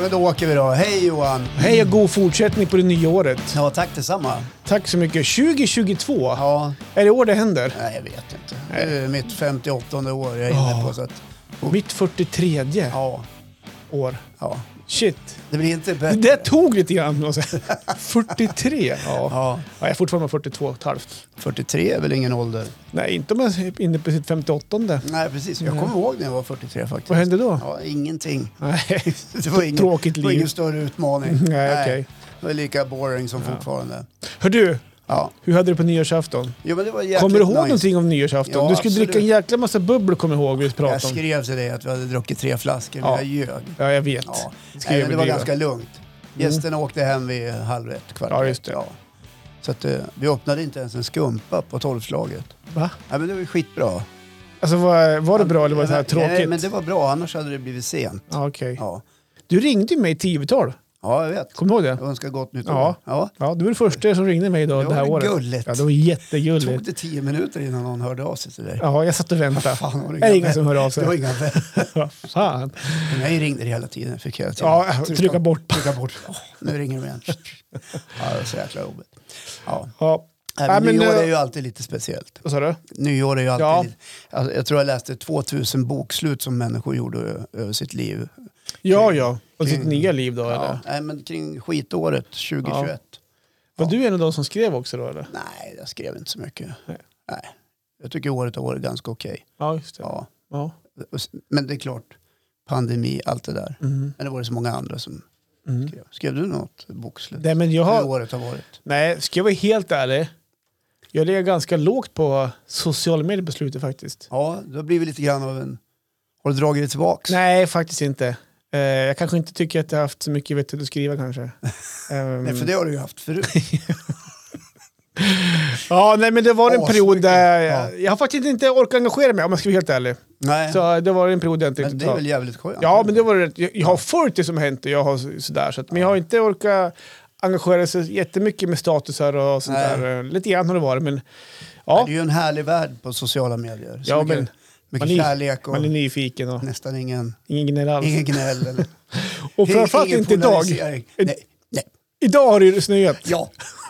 men då åker vi då. Hej Johan! Hej och god fortsättning på det nya året. Ja, tack detsamma. Tack så mycket. 2022. Ja, Är det år det händer? nej jag vet inte. Det är mitt 58 år jag är inne på. Så att, Mitt 43 ja, år. ja. Shit. Det blir inte Det bättre. där tog lite grann. alltså. 43? Ja. ja. Ja, Jag är fortfarande 42 och ett halvt. 43 är väl ingen ålder? Nej, inte om jag är inne på sitt 58. Nej, precis. Jag kommer ihåg när jag var 43 faktiskt. Vad hände då? Ja, ingenting. Nej. Det var ingen, Tråkigt det var liv. ingen större utmaning. Nej, okej. Det var lika boring som fortfarande. Hör du, Ja. hur hade du på nyårsafton? Jo, men det var jäkligt Kommer du ihåg nice. någonting om nyårsafton? Ja, du skulle absolut. dricka en jäkla massa bubbel, kommer jag ihåg vi Jag pratade om. skrev till dig att vi hade druckit tre flaskor, men Ja. jag ljög. Ja, jag vet. Ja. Ska Nej, jag men det var överdriva? ganska lugnt. Gästerna åkte hem vid halv ett, kvart Mm. Ja, ett, just det. Så att, eh, vi öppnade inte ens en skumpa på tolvslaget. Va? Nej, men det var ju skitbra. Alltså, var, var det bra eller var det så här Nej, men- tråkigt? Mm. Nej, men det var bra, annars hade det blivit sent. Ja, okej. Ja, Du ringde ju mig i tiotal. ja jag vet. Kommer du ihåg det? Jag önskar gott nytt Ja. år. Ja. Ja, du var den första som ringde mig idag Det det här var året. gulligt. Ja, det var Tog jättegulligt. det tio minuter innan någon hörde av sig till dig? Ja, jag satt och väntade. Fan, har du är det inga ingen som hör av Det var sig? inga vänner. Fan. Nej, ringde det hela tiden. Fick hela tiden. Ja, trycka bort. Trycka bort. Åh, nu ringer de igen. Ja, det var så jäkla jobbigt. Ja. Ja. Nej, Nej, Äh, men men nyår nu- är ju alltid lite speciellt. Vad sa du? Nyår är ju alltid... Ja. lite- Alltså, jag tror jag läste 2000 bokslut som människor gjorde ö- över sitt liv. Ja, ja. Och sitt Kring- nya liv då, eller? Ja. Nej, men kring skitåret 2021. Var du en av de som skrev också då, eller? Nej, jag skrev inte så mycket. Nej. Nej. Jag tycker året har varit ganska okej. Ja, just det. Ja. Ja. Och s- Men det är klart, pandemi, allt det där. Mm. Men det var det så många andra som Mm. skrev. Skrev du något bokslut? Nej, men jag Hur har... året har varit? Nej, ska jag vara helt ärlig? Jag ligger ganska lågt på sociala medier på slutet faktiskt. Ja, det har blivit lite grann av en... Har du dragit det tillbaks? Nej, faktiskt inte. Eh, jag kanske inte tycker att jag har haft så mycket vettigt att skriva kanske. Ehm, Nej, för det har du ju haft förut. Ja, nej, men det var en Asmycket. period där Ja. jag, jag har faktiskt inte orkat engagera mig om jag ska vara helt ärlig. Nej, Så eh, det var en period där jag inte men riktigt det är har- väl jävligt skönt? Ja, men det var rätt. Jag, jag har följt det som har hänt och jag har så- sådär. Så att, men jag har inte orkat engagera sig jättemycket med statusar och sånt Nej. där. Eh, Lite grann har det varit, men ja, Det är ju en härlig värld på sociala medier. Så Ja, mycket mycket man är- kärlek och man är nyfiken och nästan ingen, ingen gnäll alls. ingen gnäll. Eller, och framförallt ingen inte idag. polarisering. Ett- Nej, nej. Idag har det ju snöat. Ja.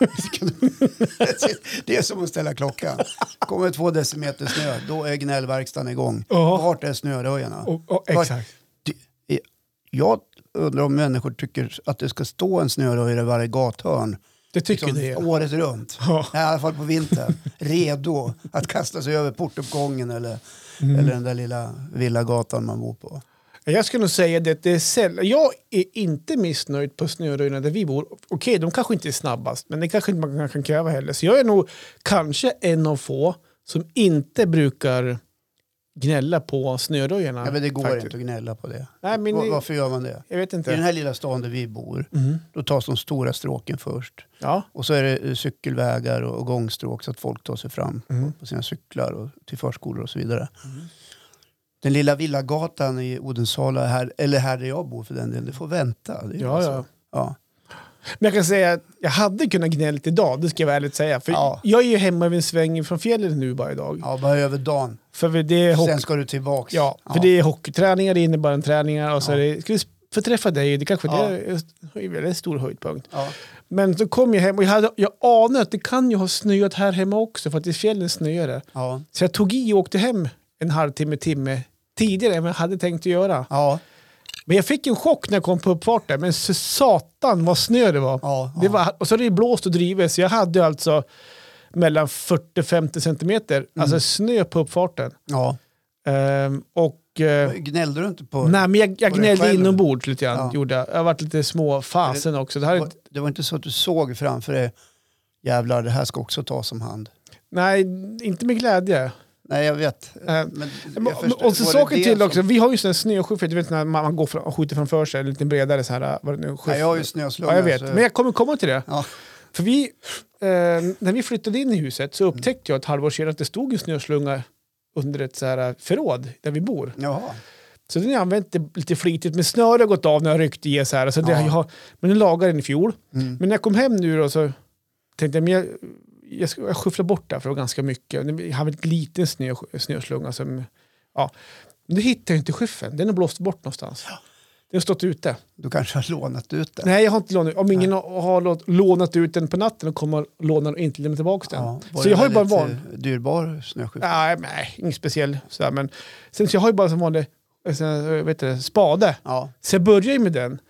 det är som att ställa klockan. Kommer två decimeter snö, då är gnällverkstan igång. Ja. Vart är snöröjarna? Och, och, Vart- exakt. Det- Jag undrar om människor tycker att det ska stå en snöröjare i varje gathörn. Det tycker Liksom det. ja. året runt. Ja. Nej, I alla fall på vintern. Redo att kasta sig över portuppgången eller, Mm. eller den där lilla villagatan man bor på. Jag skulle nog säga det, att det är sällan. Jag är inte missnöjd på snöröjorna där vi bor. Okej, de kanske inte är snabbast, men det kanske inte man kan kräva heller. Så jag är nog kanske en av få som inte brukar gnälla på snöröjorna. Ja, men det går faktiskt. inte att gnälla på det. Nej, men Var, det- varför gör man det? Jag vet I den inte. här lilla stan där vi bor, Mm. då tas de stora stråken först. Ja. Och så är det eh, cykelvägar och och gångstråk så att folk tar sig fram Mm. på- på sina cyklar och till förskolor och så vidare. Den lilla villagatan i Odensala, här, eller här där jag bor för den delen, det får vänta. Det är ju Ja, så. ja. ja. Men jag kan säga att jag hade kunnat gnällt idag, det ska jag ärligt säga. För Ja. Jag är ju hemma vid en sväng från fjällen nu bara idag. Ja, bara över dagen. För det är hockey. Sen ska du tillbaks. Ja, för det är hockeyträningar, det är innebandyträningar och så är det, ska vi få träffa dig, det kanske Ja. det är en väldigt stor höjdpunkt. Ja. Men så kom jag hem och jag, hade, jag anade att det kan ju ha snöat här hemma också för att i fjällen snöar det. Ja. Så jag tog i och åkte hem en halvtimme, timme tidigare än vad jag hade tänkt att göra. Ja. Men jag fick en chock när jag kom på uppfarten, men så satan vad snö det var. Ja, Det ja. var och så är det ju blåst och drivet, så jag hade ju alltså mellan 40-50 centimeter, Mm. alltså snö på uppfarten. ja. Ehm, och, eh, Gnällde du inte på... Nej, men jag, jag Var det gnällde själv? inombords lite grann. Ja. Gjorde jag. jag har varit lite småfasen också. Det här, är Var- inte- Det var inte så att du såg framför dig, jävlar det här ska också tas om hand. nej, inte med glädje. Nej, jag vet. Eh, Men jag Men- förstår- och så var det saker det till som- också. Vi har ju sån här snöskyffel, du vet när man man går fram, och skjuter framför sig, en liten bredare så här, vad det nu Nej, jag har ju Ja, snöslunga. jag vet. så- Men jag kommer komma till det. Ja. För vi, eh, när vi flyttade in i huset så upptäckte jag ett halvår senare att det stod en snöslunga under ett så här eh, förråd där vi bor. Jaha. Så den har jag använt lite flitigt, men snöret har gått av när jag ryckt i så här. Så det, Ja. jag har, men den lagade den i fjol. Mm. Men när jag kom hem nu då så tänkte jag, men jag, jag, ska, jag skyfflar bort det här för det var ganska mycket. Jag hade en liten snö, snöslunga som, ja. Men då hittade jag inte skyffeln, den har blåst bort någonstans. Den har stått ute. Du kanske har lånat ut den. Nej, jag har inte lånat Om ingen har- har låt- lånat ut den på natten och kommer och lånar och inte lämnar tillbaka den. Ja, var så det jag har ju bara en väldigt, van... eh, Dyrbar snöskyffel. Nej, nej, inget speciellt. Sådär, men, sen, så jag har ju bara som vanlig eh, sån här, eh, vet du, spade. Ja. Så jag började ju med den, men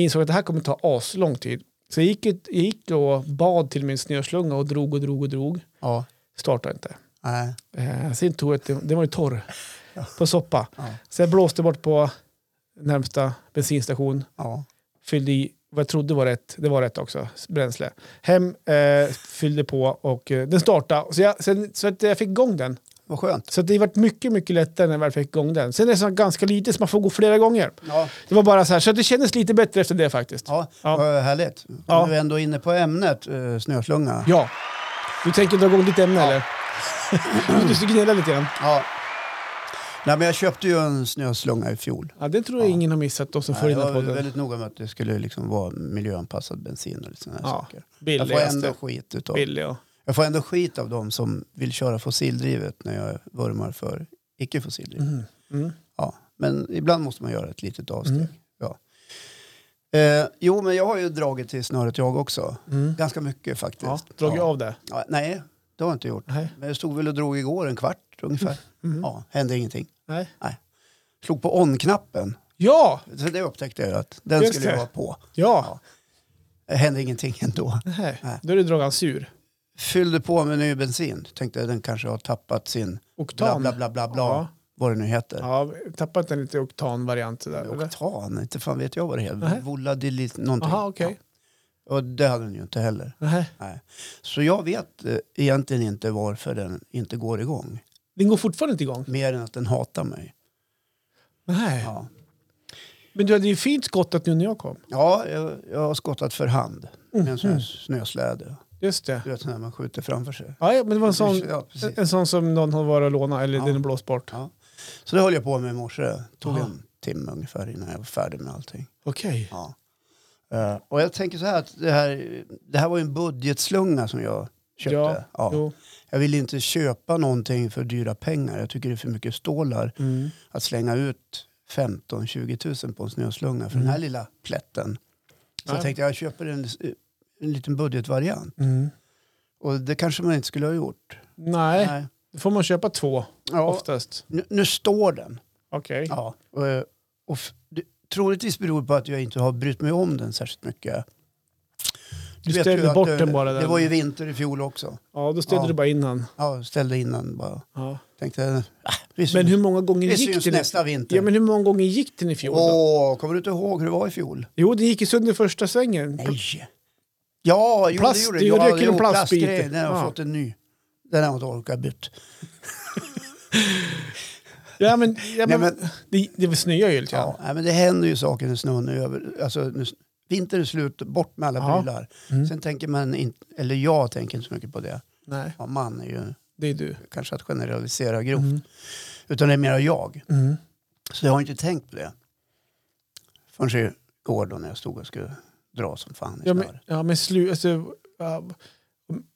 jag insåg att det här kommer ta aslång tid. Så jag gick, ut- jag gick då bad till min snöslunga och drog och drog och drog. ja. Startade inte. Nej. Eh, sen tog jag, den var ju torr Ja. på soppa. Ja. Så jag blåste bort på närmsta bensinstation, Ja. fyllde i vad jag trodde var rätt, det var rätt också, bränsle. Hem, eh, fyllde på och eh, den startade. Så, jag, sen, så att jag fick igång den. Vad skönt. Så det har varit mycket, mycket lättare när jag väl fick igång den. Sen är det så ganska lite så man får gå flera gånger. Ja. Det var bara så här, så det kändes lite bättre efter det faktiskt. Ja, Ja. vad härligt. Ja. Om vi ändå är inne på ämnet eh, snöslunga. Ja. Du tänker dra igång ditt ämne Ja. eller? du ska gnälla lite grann. Ja. Nej, men jag köpte ju en snöslunga i fjol. Ja, det tror jag Ja. ingen har missat, de som Nej, följer jag den här var podden. väldigt noga med att det skulle liksom vara miljöanpassad bensin och lite sådana här Ja, saker. Jag får ändå Billigaste. skit utav. Billig, alltså. ja. Jag får ändå skit av de som vill köra fossildrivet när jag vurmar för icke fossildrivet. Mm. Mm. Ja, men ibland måste man göra ett litet avsteg. Mm. Ja. Eh, jo, men jag har ju dragit till snöret jag också. Mm. Ganska mycket faktiskt. Ja, drog jag ja. av det? Ja, nej, det har jag inte gjort. Nej. Men jag stod väl och drog igår en kvart ungefär. Mm. Ja, hände ingenting. Nej. Slog på on-knappen. Ja! Så det upptäckte jag att den Just skulle det. vara på. Ja! Det hände ingenting ändå. Nej. Nej. Då är det dragan sur. Fyllde på med ny bensin. Tänkte att den kanske har tappat sin bla Oktan. bla bla bla bla. Ja. Vad det nu heter. Ja, tappa inte en lite oktanvariant sådär. eller? Oktan, inte fan vet jag vad det Nej. heter. Voladilit någonting. Jaha, okej. ja. Och det hade den ju inte heller. Nej. Nej. Så jag vet eh, egentligen inte varför den inte går igång. Den går fortfarande inte igång? Mer än att den hatar mig. Nej. Ja, Men du hade ju fint skottat nu när jag kom. ja jag, jag har skottat för hand med en sån Mhm. här snösläde. Just det. Du vet sån här man skjuter framför sig. Ja, ja, men det var en sån, Ja, precis. en- en sån som någon har varit och lånat eller Ja. den är blåst bort. Ja. Så det höll jag på med i morse. tog Aha. en timme ungefär innan jag var färdig med allting. Okej. Ja. Eh, och jag tänker så här att det här, det här var ju en budgetslunga som jag köpte. Ja, Jo. Jag vill inte köpa någonting för dyra pengar. Jag tycker det är för mycket stålar Mm. att slänga ut 15-20 000 på en snöslunga för Mm. den här lilla plätten. Så Nej. jag tänkte jag köper en, en liten budgetvariant. Mm. Och det kanske man inte skulle ha gjort. Nej, Nej. då får man köpa två Ja, oftast. nu, nu står den. Okej. Ja, och, och f- det, troligtvis beror det på att jag inte har brytt mig om den särskilt mycket. Du vet ställde ju att bort det- den bara Det där. var ju vinter i fjol också. Ja, då stödde Ja. du bara innan. Ja, jag ställde innan bara. Ja. Tänkte, äh, vi syns, Men hur många gånger vi gick syns den? nästa vinter. Ja, men hur många gånger gick den i fjol? Då? Åh, kommer du inte ihåg hur det var i fjol? Jo, den gick ju sönder i första svängen. Nej. Ja, jo, Plast, det gjorde du Ja, rök i jo, en plastbit. plastgrej. Den har jag Ja. fått en ny. Den har jag inte orkat byta. Ja, men, ja, Nej, men, det, det snöar ju lite grann. Ja, nej, men det händer ju saker när snön är över. Alltså, nu, vintern är slut, bort med alla Ja. prylar. Mm. Sen tänker man inte, eller jag tänker inte så mycket på det. Nej, Ja, man är ju det är du. kanske att generalisera grovt. Mm. Utan det är mera jag. Mm. Så jag har inte tänkt på det. Förrän igår då när jag stod och skulle dra som fan i Ja, men, snöret. ja, men slu, alltså, ja,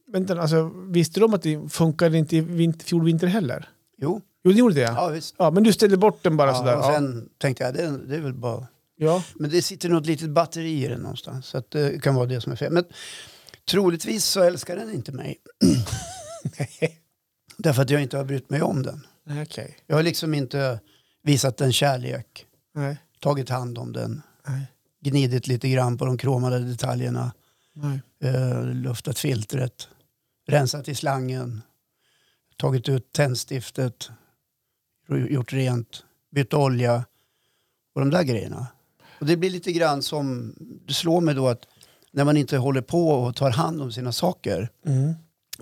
vänta, alltså, visste de att det funkade inte i vinter, fjol vinter heller? Jo, Jo, det gjorde det. Ja. ja visst. Ja, men du ställde bort den bara sådär. Ja, och Ja. sen tänkte jag, det, det är väl bara... ja. Men det sitter något litet batteri i den någonstans. Så att det kan vara det som är fel. Men troligtvis så älskar den inte mig. Därför att jag inte har brytt mig om den. Nej, okej. Jag har liksom inte visat den kärlek, Nej, tagit hand om den, nej, gnidit lite grann på de kromade detaljerna, nej. eh, luftat filtret, rensat i slangen, tagit ut tändstiftet, ro- gjort rent, bytt olja och de där grejerna. Och det blir lite grann som, det slår mig då att när man inte håller på och tar hand om sina saker Mm.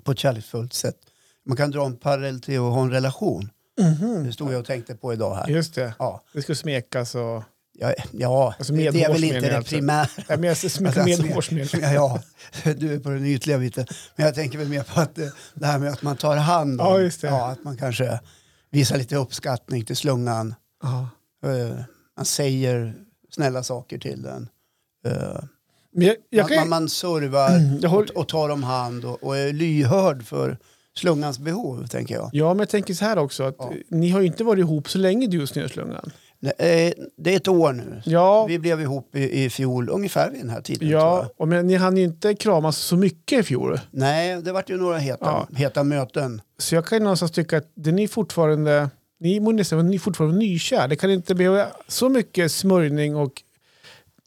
på ett kärleksfullt sätt. Man kan dra en parallell till att ha en relation. Mhm. Det stod jag och tänkte på idag här. Just det. Ja, Det ska smekas och... ja, ja Alltså det, det är väl medhårs inte menar jag det alltså. primära. Nej, men jag smekar Alltså, med smek- hårsmedel. Ja, du är på den ytliga biten. Men jag tänker väl mer på att det, det här med att man tar hand om. Ja, just det. att man kanske visar lite uppskattning till slungan. Ja. Eh, man säger snälla saker till den. Eh, Men jag, jag man, man, kan... man servar jag håller- och, och tar om hand och, och är lyhörd för slungans behov, tänker jag. Ja, men jag tänker så här också. Att Ja. Ni har ju inte varit ihop så länge du och Snöslungan. Nej, eh, det är ett år nu. Ja, Vi blev ihop i, i fjol ungefär vid den här tiden. Tror jag. ja och men ni hann ju inte kramas så mycket i fjol. Nej, det vart ju några heta, Ja. heta möten. Så jag kan ju någonstans tycka att det är ni fortfarande, ni må nästan vara- ni är fortfarande nykär. Det kan inte behöva så mycket smörjning och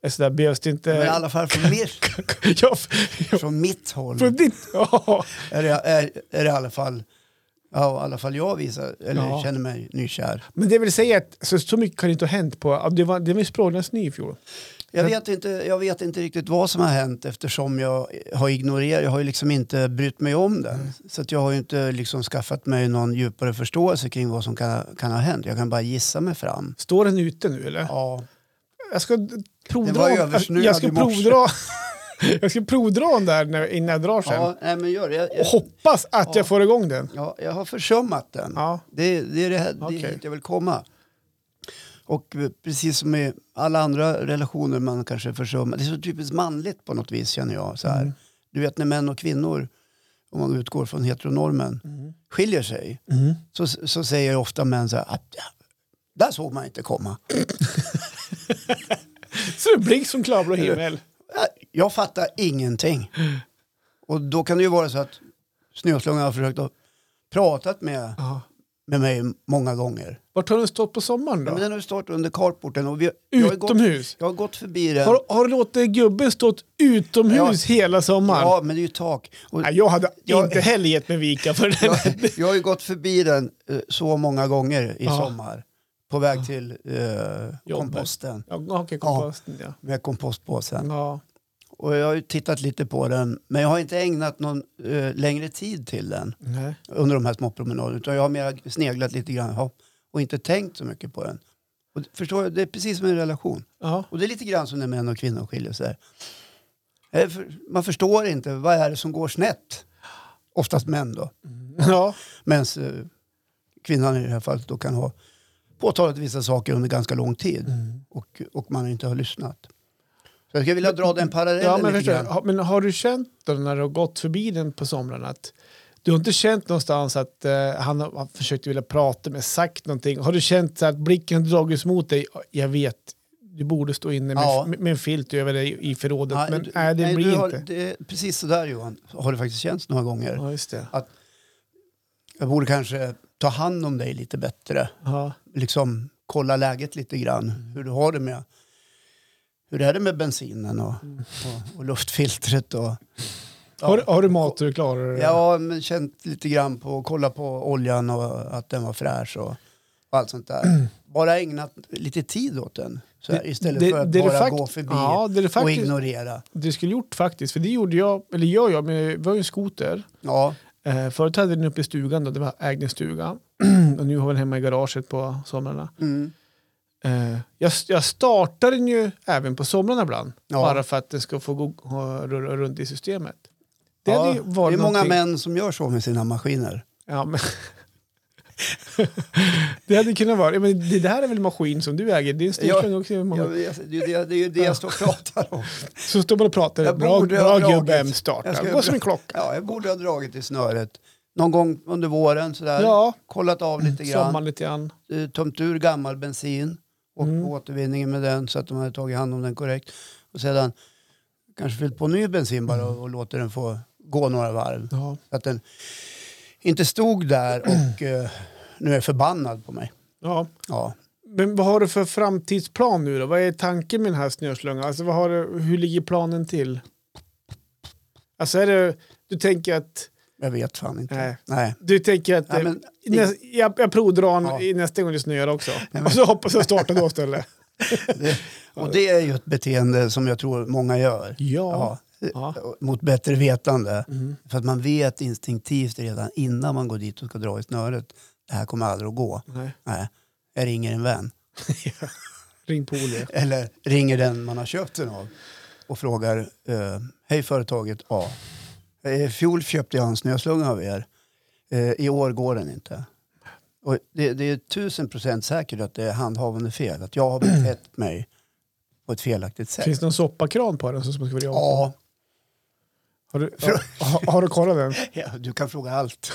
eh, sådär behövs det inte. Men i alla fall från, min, ja, f- ja, från mitt håll från ditt, ja. är det, är, är det i alla fall Ja, i alla fall jag visar, eller Ja. känner mig nykär. Men det vill säga att så, så mycket kan det inte ha hänt på, ja, det var, det var ju språklans ny i fjol. Jag Men- vet, inte, jag vet inte riktigt vad som har hänt eftersom jag har ignorerat, jag har ju liksom inte brytt mig om den. Mm. Så att jag har ju inte liksom skaffat mig någon djupare förståelse kring vad som kan, kan ha hänt. Jag kan bara gissa mig fram. Står den ute nu eller? Ja, Jag ska d- provdra. Det var översnöad jag ska i morse. provdra. jag ska provdra den där när, innan jag drar sen. ja nej, men gör det. Jag, Och jag, hoppas att Ja. jag får igång den. ja, jag har försummat den. Ja. Det, det är det här det Okej. är hit jag vill komma. Och eh, precis som i alla andra relationer man kanske försummar, det är så typiskt manligt på något vis känner jag. Så här. Mm. Du vet när män och kvinnor, om man utgår från heteronormen, Mm. skiljer sig Mm. så, så säger ofta män så här, att ja, där såg man inte komma. Så det är blixt från klarblå himmel. Ja, Jag fattar ingenting. Och då kan det ju vara så att snöslungan har försökt att pratat med, Ja. med mig många gånger. Vart har den stått på sommaren Ja. då? Men den har ju stått under carporten och vi, jag, har gått, utomhus? jag har gått förbi den. Har, har du låtit gubben stått utomhus hela sommaren? Ja, men det är ju tak. Och Nej, jag hade Jag- inte heller gett mig vika för den. jag, jag har ju gått förbi den eh, så många gånger i Ja. sommar. På väg till eh, Jobbet. komposten. Ja, okej, komposten ja. Med kompostpåsen. ja. Och jag har ju tittat lite på den. Men jag har inte ägnat någon eh, längre tid till den. Nej. Under de här små promenaderna. Utan jag har mer sneglat lite grann. ja, Och inte tänkt så mycket på den. Och, det- förstår du? Det är precis som en relation. Ja. Och det är lite grann som när män och kvinnor skiljer sig. Eh, för- Man förstår inte. Vad är det som går snett? Oftast män då. ja. Medan eh, kvinnan i det här fallet då kan ha påtalat vissa saker under ganska lång tid Mm. och, och man inte har lyssnat. Så jag skulle vilja dra den Ja, parallellen men, lite förstår, grann. jag. men har du känt då när du har gått förbi den på somrarna att du har inte känt någonstans att eh, han har har försökt vilja prata med sagt någonting? Har du känt så att blicken har dragits mot dig? Jag vet, du borde stå inne med, Ja. med, med en filt över dig i förrådet, men du- nej, det nej, blir du har, inte. Det är precis sådär Johan, har det faktiskt känts några gånger. Ja, just det. Jag borde kanske ta hand om dig lite bättre. Ja. Liksom kolla läget lite grann. Mm. Hur du har det med hur är det med bensinen och, och, och luftfiltret? Och, Ja. Mm. Har, har du mat så du klarar det? Ja, men känt lite grann på, kolla på oljan och att den var fräsch och, och allt sånt där. Bara ägnat lite tid åt den. Så här, istället Mm. Det- för att det du bara fakt- gå förbi Ja, det du och faktiskt, ignorera. det skulle gjort faktiskt, för det gjorde jag, eller gör jag, men vi har ju en skoter. Ja, Eh, förut hade vi den uppe i stugan, då, det var ägde en stuga. och nu har vi den hemma i garaget på somrarna. mm. Eh, jag, jag startar den ju även på somrarna ibland. Ja. Bara för att den ska få gå, ha, rulla runt i systemet. Det, ja, hade det ju är varit många någonting- män som gör så med sina maskiner. Ja, men... det hade kunnat vara, ja, men det där är väl en maskin som du äger, det är en Ja. storslung också. Ja, Ja. det är ju det, det, är ju det jag står och pratar om. Så står man och pratar, Jag bra, borde bra ha gubben, dragit. Jag starta, ska gå som dra- en klocka. Ja, jag borde ha dragit i snöret någon gång under våren. Sådär. Ja, Mm, Kollat av lite grann. sommaren lite grann. eh, tömt ur gammal bensin och Mm. återvinningen med den så att de hade tagit hand om den korrekt. Och sedan kanske fyllt på ny bensin bara Mm. och, och låter den få gå några varv. Ja. Så att den inte stod där och eh, nu är förbannad på mig. Ja. Ja. Men vad har du för framtidsplan nu då? Vad är tanken med den här snöslungan? Alltså vad har du, hur ligger planen till? Alltså är det, du tänker att, Jag vet fan inte. Nej. Nej. du tänker att Ja, eh, men, näs, jag, jag provdrar en- Ja. i nästa gång det snöar också. Och så hoppas jag starta då istället. det, och det är ju ett beteende som jag tror många gör. Ja. Ja. ja. Mot bättre vetande. Mm. För att man vet instinktivt redan innan man går dit och ska dra i snöret. Det här kommer aldrig att gå. Nej. Nej. Jag ringer en vän. Ring polare. Eller ringer den man har köpt den av och frågar eh, Hej företaget A. Eh, I fjol köpte jag en snöslunga av er. Eh, I år går den inte. Och det, det är tusen procent säkert att det är handhavande fel. Att jag har betett mig på ett felaktigt sätt. Finns det någon soppakran på den som ska vara i Ja, Har du, har, har du kollat den? Ja, du kan fråga allt.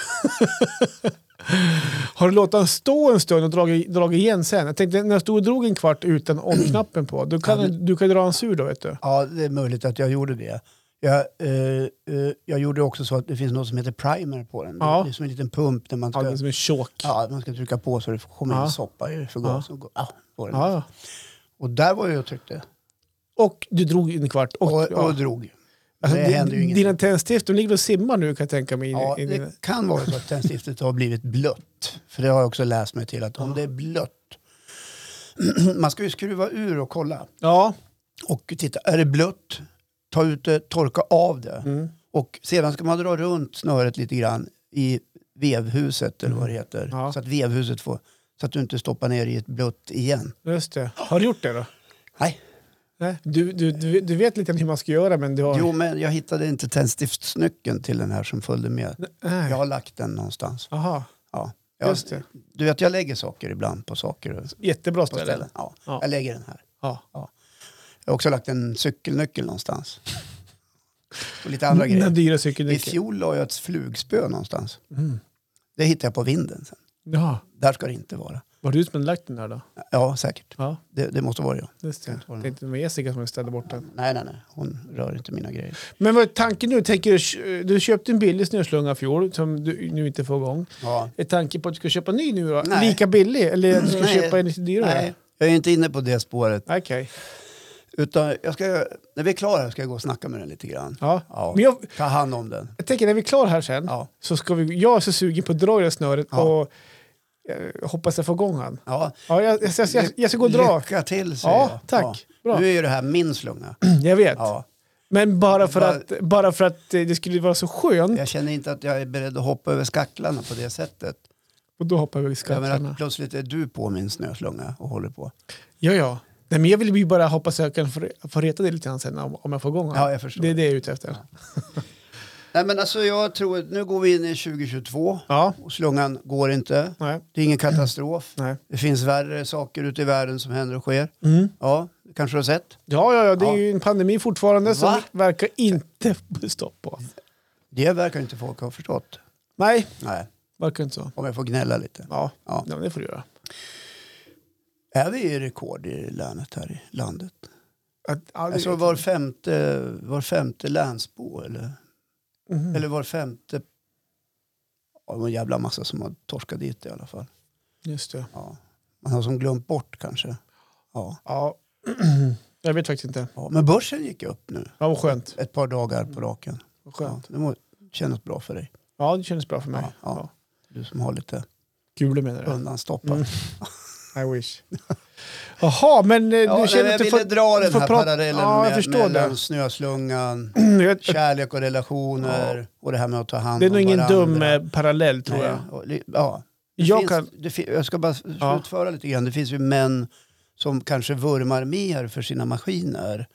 Har du låtit den stå en stund och dragit, dragit igen sen? Jag tänkte när jag stod och drog en kvart utan on-knappen på, du kan, Ja, du kan ju dra en sur då vet du. Ja, det är möjligt att jag gjorde det. Jag, eh, eh, jag gjorde också så att det finns något som heter primer på den. Ja. Det är som en liten pump där man Ja, ska, den som är tjock. ja, man ska trycka på så det kommer Ja. in soppa i förgas. Och, gå- ah, på den. Ja. och där var jag och tryckte. Och du drog en kvart. Och, Och, och, ja. drog. Alltså, det din- hände ju ingenting. Dina tändstift, de ligger och simmar nu kan jag tänka mig. in- Ja, in- det kan vara så att tändstiftet har blivit blött. För det har jag också läst mig till att om det är blött. Man ska ju skruva ur och kolla. ja. Och titta, är det blött, ta ut det, torka av det. Mm. Och sedan ska man dra runt snöret lite grann i vevhuset eller vad det heter. Ja. Så att vevhuset får, så att du inte stoppar ner i ett blött igen. Just det. Har du gjort det då? Nej, Nej. Du, du, du, du vet lite hur man ska göra men du har... jo men jag hittade inte tändstiftsnyckeln till den här som följde med. Nej. Jag har lagt den någonstans. Aha. Ja. Jag, Just det. du vet jag lägger saker ibland på saker och Jättebra på ställe. ställen. Ja. Ja. Jag lägger den här. Ja. Jag har också lagt en cykelnyckel någonstans. Och lite andra Den grejer. dyra I cykelnyckeln. fjol la jag ett flugspö någonstans. Mm. Det hittade jag på vinden sen. Ja. Där ska det inte vara. Var du som hade lagt den där då? Ja, säkert. Ja, Det, det måste vara jag. just det. tror det. Tänkte det var Jessica som ställde bort den. Nej, nej, nej. Hon rör inte mina grejer. Men vad är tanken nu? Tänker du, du köpte en billig snöslunga i fjol som du nu inte får igång. Ja. Är tanken på att du ska köpa en ny nu då? Nej. Lika billig? Eller du ska Nej. köpa en lite dyrare? Nej, jag är inte inne på det spåret. Okej. Utan jag ska, när vi är klara ska jag gå och snacka med den lite grann. Ja. Ja. Men jag, Ta hand om den. jag tänker när vi är klara här sen Ja. så ska vi... Jag är så sugen på att dra i det här snöret Ja. och eh, hoppas jag får igång han. Ja. Ja, jag, jag, jag, jag, jag ska gå och dra. Lycka till, säger Ja, jag. tack. Ja. Bra. Nu är ju det här min slunga. Jag vet. Ja. Men bara för, Bara- att, bara för att eh, det skulle vara så skönt. Jag känner inte att jag är beredd att hoppa över skacklarna på det sättet. Och då hoppar vi i Jag menar, skattarna. att plötsligt är du på min snöslunga och håller på. Ja, ja. Nej, men jag vill ju bara hoppas att jag kan få, få reta dig lite grann sen om, om jag får igång honom. Ja, jag förstår. Det är det jag är ute efter. Nej, men alltså jag tror, nu går vi in i 2022 Ja, och slungan går inte. nej, Det är ingen katastrof. nej. Mm. Det finns värre saker ute i världen som händer och sker. Ja, det kanske du har sett. Ja, ja, ja, det är Ja. ju en pandemi fortfarande som Va? verkar inte få stopp på. Det verkar inte folk ha förstått. Nej, Nej, verkar inte så. om jag får gnälla lite. Ja, ja. Ja. men det får du göra. Är vi i rekord i länet här i landet? Att, ja, det- Alltså var femte, var femte länsbo eller, Mhm. eller var femte... Ja, det var en jävla massa som har torskat dit i alla fall. Just det. Ja. Man har som glömt bort kanske. Ja. Ja. jag vet faktiskt inte. Ja. Men börsen gick upp nu Ja, vad skönt. ett par dagar på raken. Vad Ja. Mm. skönt. Det må kännas bra för dig. Ja, det kändes bra för mig. Ja, ja. Du som har lite Kul menar jag. undanstoppat. Mm. I wish. Jaha, men eh, Ja, du känner nej, att du jag ville får... dra den får här prata- parallellen Ja, jag med, förstår mellan det. snöslungan, Jag vet- kärlek och relationer och det här med att ta hand Det är om nog ingen varandra. dum eh, parallell tror Nej, jag. och li- Ja. Det Jag finns, kan- det, fi- jag ska bara Ja. slutföra lite grann. Det finns ju män som kanske vurmar mer för sina maskiner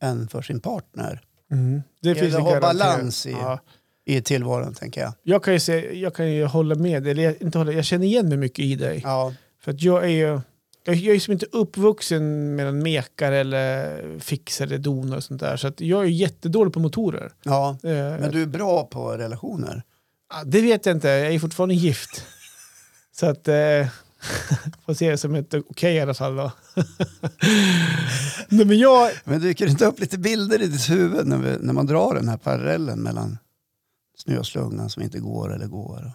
än för sin partner Mm. Det gäller finns en att Mm. ha garanterad- balans i- Ja. i tillvaron tänker jag. Jag kan ju, se, jag kan ju hålla med, eller jag, inte hålla, jag känner igen mig mycket i dig. Ja, För att jag är ju jag, jag är som inte uppvuxen med en mekare eller fixare, donar och sånt där. Så att jag är jättedålig på motorer. ja. Eh, Men du är bra på relationer. ja, Det vet jag inte, jag är fortfarande gift. Så att... Eh, får se det som ett okej i alla fall då. Nej men jag... Men dyker det inte upp lite bilder i ditt huvud när, vi, när man drar den här parallellen mellan snöslungan som inte går eller går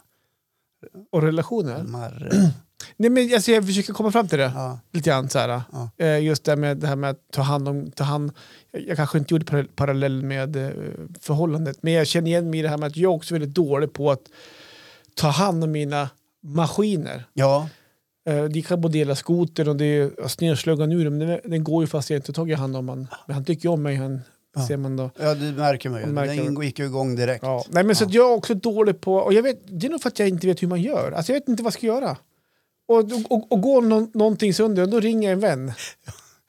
Och och relationer? marre. Nej men alltså, jag försöker komma fram till det. Ja, lite grann så här. Ja. Eh, Just det här med, det här med att ta hand om, ta hand, jag kanske inte gjorde par- parallell med eh, förhållandet, men jag känner igen mig i det här med att jag också är väldigt dålig på att ta hand om mina maskiner. ja, Eh, Det kan både gälla skoter och det är ja, snöslungan nu, men den- den går ju fast jag inte tagit hand om han. Men han tycker ju om mig, han Ja. ser man då. ja det märker man ju. Man märker Den gick ju igång direkt. Ja. Nej, men så Ja. att jag är också dålig på, och jag vet, det är nog för att jag inte vet hur man gör. Alltså jag vet inte vad jag ska göra. Och, och, och går nå- någonting sönder, då ringer jag en vän.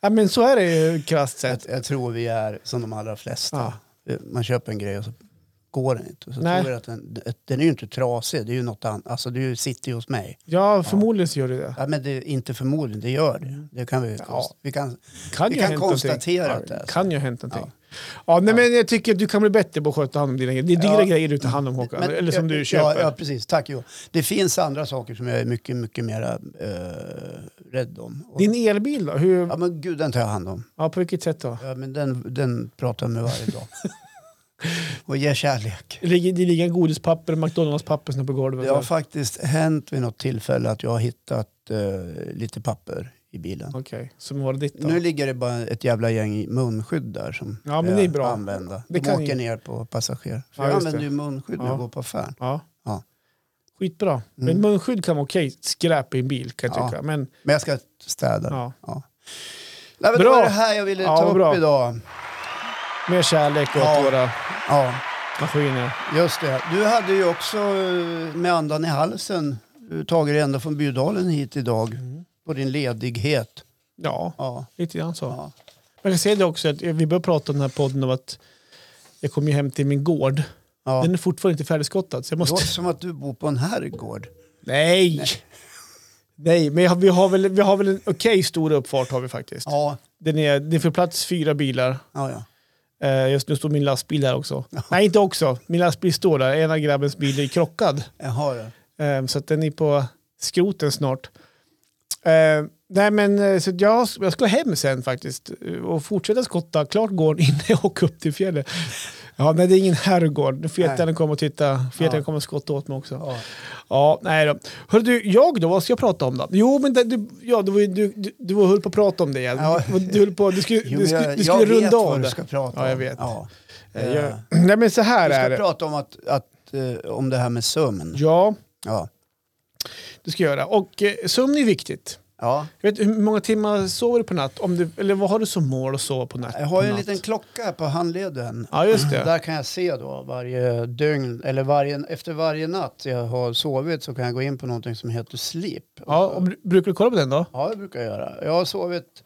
Ja, men så är det ju krasst Jag, sett. jag tror vi är som de allra flesta. Ja. Man köper en grej och så går den inte. Så Nej. tror jag att den, den är ju inte trasig, det är ju något annat. Alltså du sitter ju hos mig. Ja, förmodligen så gör det det. Ja, men det är inte förmodligen, det gör det. Det kan vi, Ja. vi kan, Kan Vi ju kan ha hänt någonting. konstatera Ja, att det är så. kan ju ha hänt någonting. Ja. nej, men jag tycker att du kan bli bättre på att sköta hand om dina grejer. Det är dyra Ja. grejer du tar hand om Håkan. Men- eller som ja, du köper. Ja, ja precis. Tack jo. Det finns andra saker som jag är mycket, mycket mer eh, rädd om. Och, Din elbil då? Hur, ja, ja. men gud, den tar jag hand om. på vilket sätt då? Ja, men den, den pratar jag med varje dag. och ger kärlek. Det ligger, det ligger en godispapper och McDonalds-papper som är på golvet. Det har faktiskt hänt vid något tillfälle att jag har hittat eh, lite papper i bilen. Okej, som var ditt då? Nu ligger det bara ett jävla gäng munskydd där som Ja, men jag det är bra. använda. Det De kan åker ju- ner på passager. För Ja, jag just använder ju det. munskydd när Ja. jag går på affären. Ja. Ja. Skitbra. Men Mm. munskydd kan vara okej. Skräp i en bil kan jag Ja. tycka. Men, Men jag ska städa. ja. Ja. Nej, men Bra. Det var det här jag ville Ja, ta upp bra. idag. Mer kärlek åt Ja. våra Ja, maskiner. just det. Du hade ju också eh, med andan i halsen eh, tagit dig ända från Bjudalen hit idag Mm. på din ledighet. Ja, Ja, lite grann så. ja. Men jag ser det också, att vi börjar prata om den här podden om att jag kom ju hem till min gård. ja. Den är fortfarande inte färdigskottad. Så Det jag måste... låter som att du bor på en herrgård. Nej! Nej, men jag, vi har väl, vi har väl en okej stor uppfart har vi faktiskt. Ja, Den är, det får plats fyra bilar. ja, ja. Eh, just nu står min lastbil där också. Nej, inte också. Min lastbil står där. En av grabbens bilar är krockad. Jaha, ja. Eh, så att den är på skroten snart. Eh, nej, men eh, så att jag, jag ska hem sen faktiskt eh, och fortsätta skotta klart gården innan jag åker upp till fjällen. Ja, nej, det är ingen herrgård. Nu får Nej. jättarna komma och titta. Ja. Får jättarna komma och skotta åt mig också. ja. Ja, nej då. Hör du, jag då, vad ska jag prata om då? Jo, men det, du, ja, du, var ju- du, du, du var- höll på att prata om det igen. Ja. Du, du, höll på, du skulle, Jo, du men skulle, jag- du skulle jag vet runda vad av du det. ska prata om. Ja, jag vet. Ja. Eh, jag, Eh, nej, men så här Du är ska det. prata om, att, att, eh, om det här med sömn. Ja, Ja. det ska jag göra. Och eh, sömn är viktigt. Ja. Jag vet, hur många timmar sover du på natt? Om du, eller vad har du som mål att sova på natt? Jag har ju på en natt? liten klocka här på handleden. Ja, just det. Där kan jag se då varje dygn, eller varje, efter varje natt jag har sovit så kan jag gå in på någonting som heter sleep. Ja, och br- brukar du kolla på den då? Ja, det brukar jag göra. Jag har sovit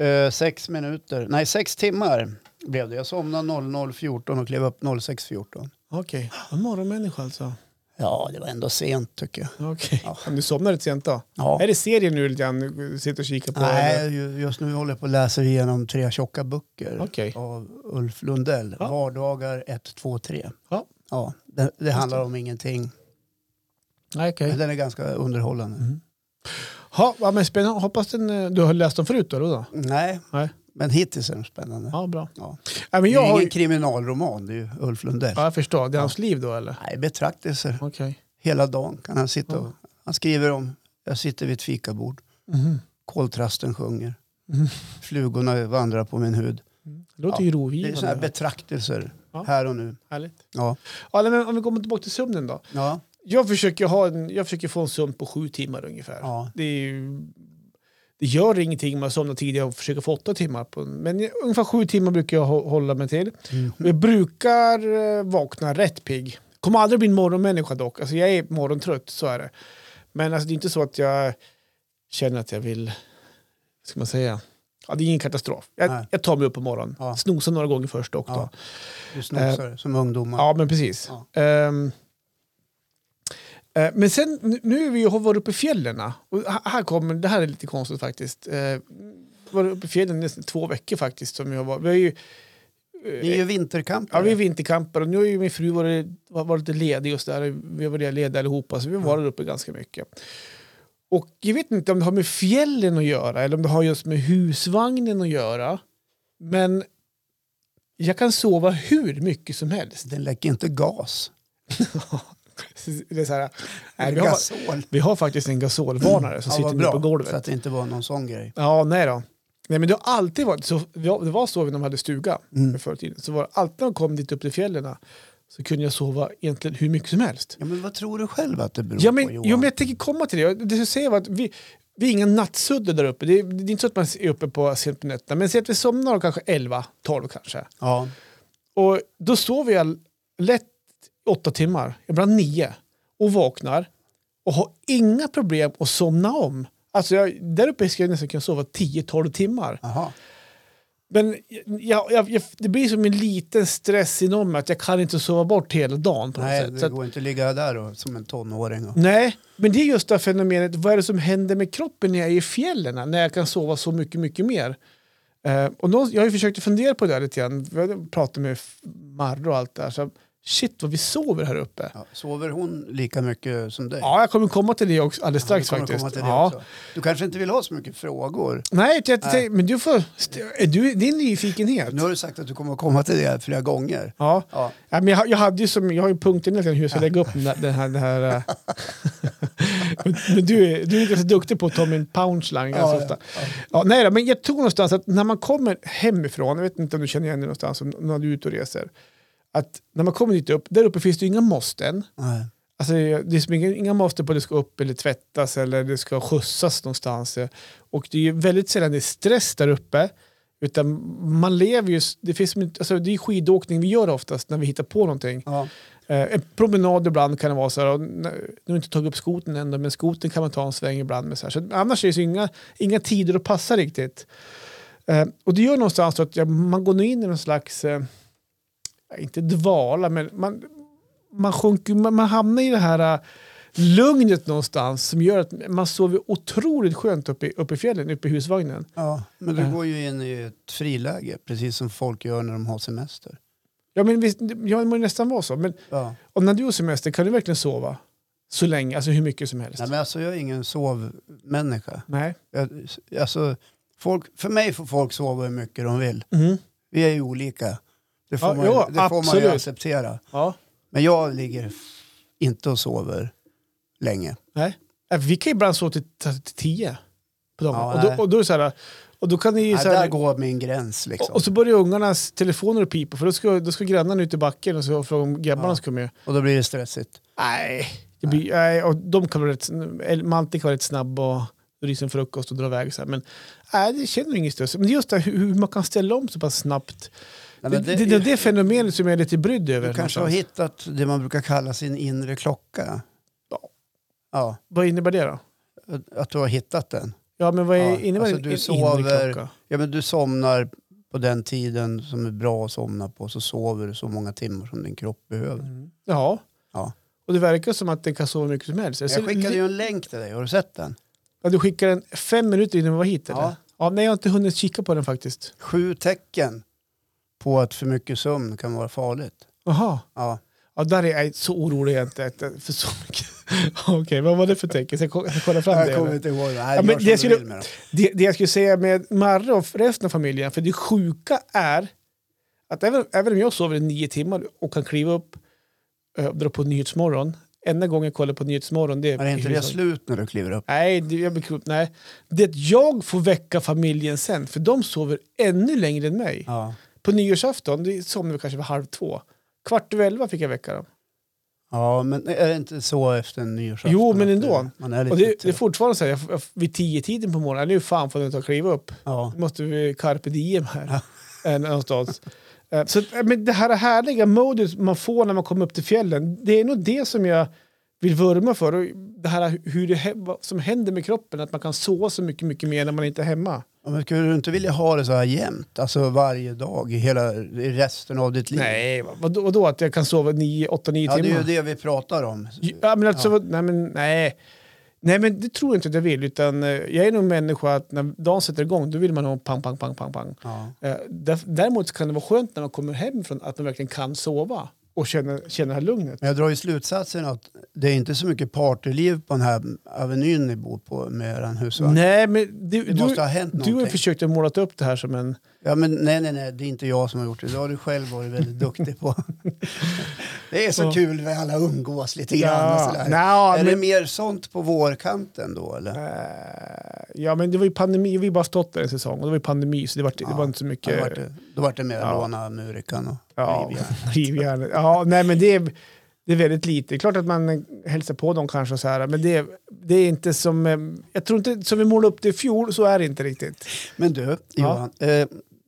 eh, sex minuter, nej sex timmar blev det. Jag somnade 00.14 och klev upp 06.14. Okej, okay. morgonmänniska alltså. Ja, det var ändå sent tycker jag. Okej. Ja. Men Du somnar lite sent då? Ja. Är det serien nu lite grann du sitter och kikar på? eller? Nej, ju- just nu håller jag på och läser igenom tre tjocka böcker Okej. av Ulf Lundell. Ja. Vardagar 1, 2, 3. Ja. Ja, det, det handlar om ingenting. Nej, okej. Mm. Men Den är ganska underhållande. Ha, ja, men spännande. Hoppas den, eh, du har läst dem förut då? eller då? Nej, Nej. men hittills är den spännande. Ja, bra. Ja. Ja, men Det är jag, ju har, ingen ju- kriminalroman, det är ju Ulf Lundell. ja, jag förstår, det är hans liv då eller? Nej, betraktelser. Okej. Hela dagen kan han sitta och... Ja. Han skriver om, jag sitter vid ett fikabord, Mhm. koltrasten sjunger, Mhm. flugorna vandrar på min hud. Mm. Det låter Ja, ju Det är sådana här rogivande. betraktelser, Ja. här och nu. Härligt. Ja. Ja, nej, men om vi kommer tillbaka till sömnen då. Ja. Jag försöker, ha en, jag försöker få en sömn på sju timmar ungefär. Ja. Det, är ju, det gör ingenting om jag somnar tidigare och försöker få åtta timmar. På, men jag- ungefär sju timmar brukar jag hå- hålla mig till. Mm. Och Jag brukar eh, vakna rätt pigg. Kommer aldrig bli en morgonmänniska dock. Alltså jag är morgontrött, så är det. Men alltså det är inte så att jag känner att jag vill... Vad ska man säga? Ja, det är ingen katastrof. Jag, Nej. jag tar mig upp på morgonen. Ja. Snosar några gånger först också. Ja. Du snosar som ungdomar. Eh, Ja, men precis. Ehm, eh, men sen, nu- nu är vi ju- har vi varit uppe i fjällen. Och h- här kommer, det här är lite konstigt faktiskt. Uh, varit uppe i fjällen nästan två veckor faktiskt. Som jag var. Vi har ju, Ni är ju vintercampare. eh, ja, vi är vinterkampar och nu har ju min fru varit, var- varit lite ledig och så där. Vi har varit lediga allihopa så vi har varit uppe ganska mycket. Och jag vet inte om det har med fjällen att göra eller om det har just med husvagnen att göra. Men jag kan sova hur mycket som helst. Den läcker inte gas. Det är så här, nej, vi, Eller har, gasol. vi har faktiskt en gasolvarnare som Ja, sitter vad nere bra. på Så golvet. att det inte var någon sån grej. Ja, nej då. Nej, men det har alltid varit så. ja, Det var så när de hade stuga Mm. förr i tiden. Så var det alltid när de kom dit upp till fjällen så kunde jag sova egentligen hur mycket som helst. Ja, men vad tror du själv att det beror Ja, men, på jo, Johan? men jag tänker komma till det. Jag- Det jag säger var att vi, vi är inga nattsuddar där uppe. Det är, det är inte så att man är uppe på sent på nätterna. Men säg att vi somnar kanske 11, 12 kanske. Ja. Och då sover jag lätt åtta timmar, ibland nio, och vaknar och har inga problem att somna om. Alltså jag, där uppe ska jag nästan kunna sova 10-12 timmar. Aha. Men jag, jag, jag, det blir som en liten stress inom mig att jag kan inte sova bort hela dagen. På något Nej, sätt. Så det att, går inte att ligga där och, som en tonåring. Och, nej, men det är just det här fenomenet, vad är det som händer med kroppen när jag är i fjällen? När jag kan sova så mycket, mycket mer. Eh, och nå, jag har ju försökt att fundera på det där lite grann, jag pratade med Marre och allt det där. Så, shit vad vi sover här uppe. ja, sover hon lika mycket som dig? Ja, jag kommer komma till det också, alldeles Ja, vi strax kommer faktiskt. komma till det ja. också. Du kanske inte vill ha så mycket frågor. Nej, jag tänkte, säga, men du får, är du, det är nyfikenhet. Nu har du sagt att du kommer att komma till det flera gånger. Ja. Ja. Ja, men jag, har- jag hade ju som, jag har ju punkten hur jag ska lägga upp den här... Den här, den här eh. men men du, är, du är inte så duktig på att ta min punchline alltså, ganska Ja, ofta. Ja, nej då, men jag tror någonstans att när man kommer hemifrån, jag vet inte om du känner igen det någonstans, om- när du är ute och reser, att när man kommer dit upp, där uppe finns det ju inga måsten. Nej. Alltså, det är som inga, inga måste på att det ska upp eller tvättas eller det ska skjutsas någonstans. Och det är ju väldigt sällan det är stress där uppe. Utan man lever ju, det, finns, som inte- alltså det är skidåkning vi gör oftast när vi hittar på någonting. Ja. Eh, en promenad ibland kan det vara så här, och n- nu har jag inte tagit upp skoten än, då, men skoten kan man ta en sväng ibland med. Så här. Så att annars är det så inga, inga tider att passa riktigt. Eh, och det gör någonstans så att ja, man går nu in i någon slags, eh, inte dvala, men man, man, sjunker, man, man hamnar i det här eh, lugnet någonstans som gör att man sover otroligt skönt uppe i, uppe i fjällen, uppe i husvagnen. Ja, men du Ja. går ju in i ett friläge, precis som folk gör när de har semester. Ja, men visst, ja, det må ju nästan vara så. Men Ja. om när du har semester, kan du verkligen sova? Så länge, alltså hur mycket som helst. Nej, men alltså, jag är ingen sovmänniska. Nej. Jag, alltså, folk, för mig får folk sova hur mycket de vill. Mhm. Vi är ju olika. Det får, Ja, man, jo, det får man ju absolut. acceptera. Ja. Men jag ligger f- inte och sover länge. Nej. Äh, Vi kan ju ibland sova till, till till tio. På dagen. Ja, och, nej. då, och då är det så här, och då kan ni ju Ja, så här, där går min gräns liksom. och, och så börjar ungarnas telefoner att pipa för då ska, då ska grannarna ut i backen och så frågar om grabbarna Ja. ska med. Och då blir det stressigt. Nej, det blir, nej. och de kan vara rätt, eller Malte kan vara rätt snabb och ryser en frukost och drar iväg. Så här. Men nej, det känner ingen stress. Men det är just det här, hur, hur man kan ställa om så pass snabbt. Nej, det, men det, det, det är det fenomenet som jag är lite brydd över. du kanske har någonstans. hittat det man brukar kalla sin inre klocka. Ja. Ja, Vad innebär det då? att du har hittat den. Ja, men vad är, Ja, innebär alltså, en- du en inre sover- klocka? Ja, men du somnar på den tiden som är bra att somna på så sover du så många timmar som din kropp behöver. Ja. Ja. Och det verkar som att den kan sova hur mycket som helst. Jag skickade ju en länk till dig, har du sett den? ja, du skickade den fem minuter innan vi var hit eller? Ja. Ja. ja. Nej, jag har inte hunnit kika på den faktiskt. Sju tecken på att för mycket sömn kan vara farligt. Jaha. Ja. Ja, där är jag så orolig egentligen för så mycket. Okej, vad var det för tecken? Ska jag ko- ska jag kolla fram det? Jag eller? kommer inte ihåg. Nej, Ja, gör men som det du skulle- vill med dem. Det, det jag skulle säga med Marre och resten av familjen, för det sjuka är att även, även om jag sover i nio timmar och kan kliva upp eh, och dra på Nyhetsmorgon, enda gången jag kollar på Nyhetsmorgon det är... Men är inte i det hushållet. slut när du kliver upp? Nej, det, jag blir klok, nej. Det att jag får väcka familjen sen, för de sover ännu längre än mig. Ja. På nyårsafton, det somnade vi kanske vid halv två. Kvart över elva fick jag väcka dem. ja, men är det inte så efter en nyårsafton? Jo, men att ändå. det- Man är lite Och det, det är trött? fortfarande så här, jag, jag, vid tio tiden på morgonen, nu fan får jag ta och kliva upp. ja. Nu måste vi carpe diem här. eh, någonstans. Eh, Så eh, men det här härliga modet man får när man kommer upp till fjällen, det är nog det som jag vill vurma för. Och det här hur det, hä- vad som händer med kroppen, att man kan sova så mycket, mycket mer när man inte är hemma. Ja, Men skulle du inte vilja ha det så här jämt? Alltså varje dag, i hela, i resten av ditt liv? Nej, vad- vadå, vadå att jag kan sova 9, 8, 9 Ja, det är ju timmar? det vi pratar om. Ja, men alltså, vad- nej, men, nej. nej, men det tror jag inte att jag vill, utan eh, jag är nog en människa att när dagen sätter igång, då vill man ha pang, pang, pang, pang, pang. Ja. Eh, därf- Däremot så kan det vara skönt när man kommer hem från att man verkligen kan sova och känna, känna det här lugnet. Men jag drar ju slutsatsen att det är inte så mycket partyliv på den här avenyn ni bor på med eran husvagn. Nej, men du, Det du, måste ha hänt du har ju någonting. försökt att måla upp det här som en... Ja, men nej, nej, nej, det är inte jag som har gjort det. Det har du själv varit väldigt duktig på. det är så Ja. kul när alla umgås lite grann och sådär. Nja, är det men, mer sånt på vårkanten då eller? eh, ja, men det var ju pandemi, vi har bara stått där en säsong och det var ju pandemi så det var, Ja, det var inte så Ja, mycket... Då vart det, då vart det mer Ja. låna Murikan och Ja, Olivia. rivjärnet. Ja, nej men det är, det är väldigt lite. Det är klart att man hälsar på dem kanske och så här, men det, är- det är inte som... eh, Jag tror inte, som vi målade upp det i fjol, så är det inte riktigt. Men du, Johan. Eh,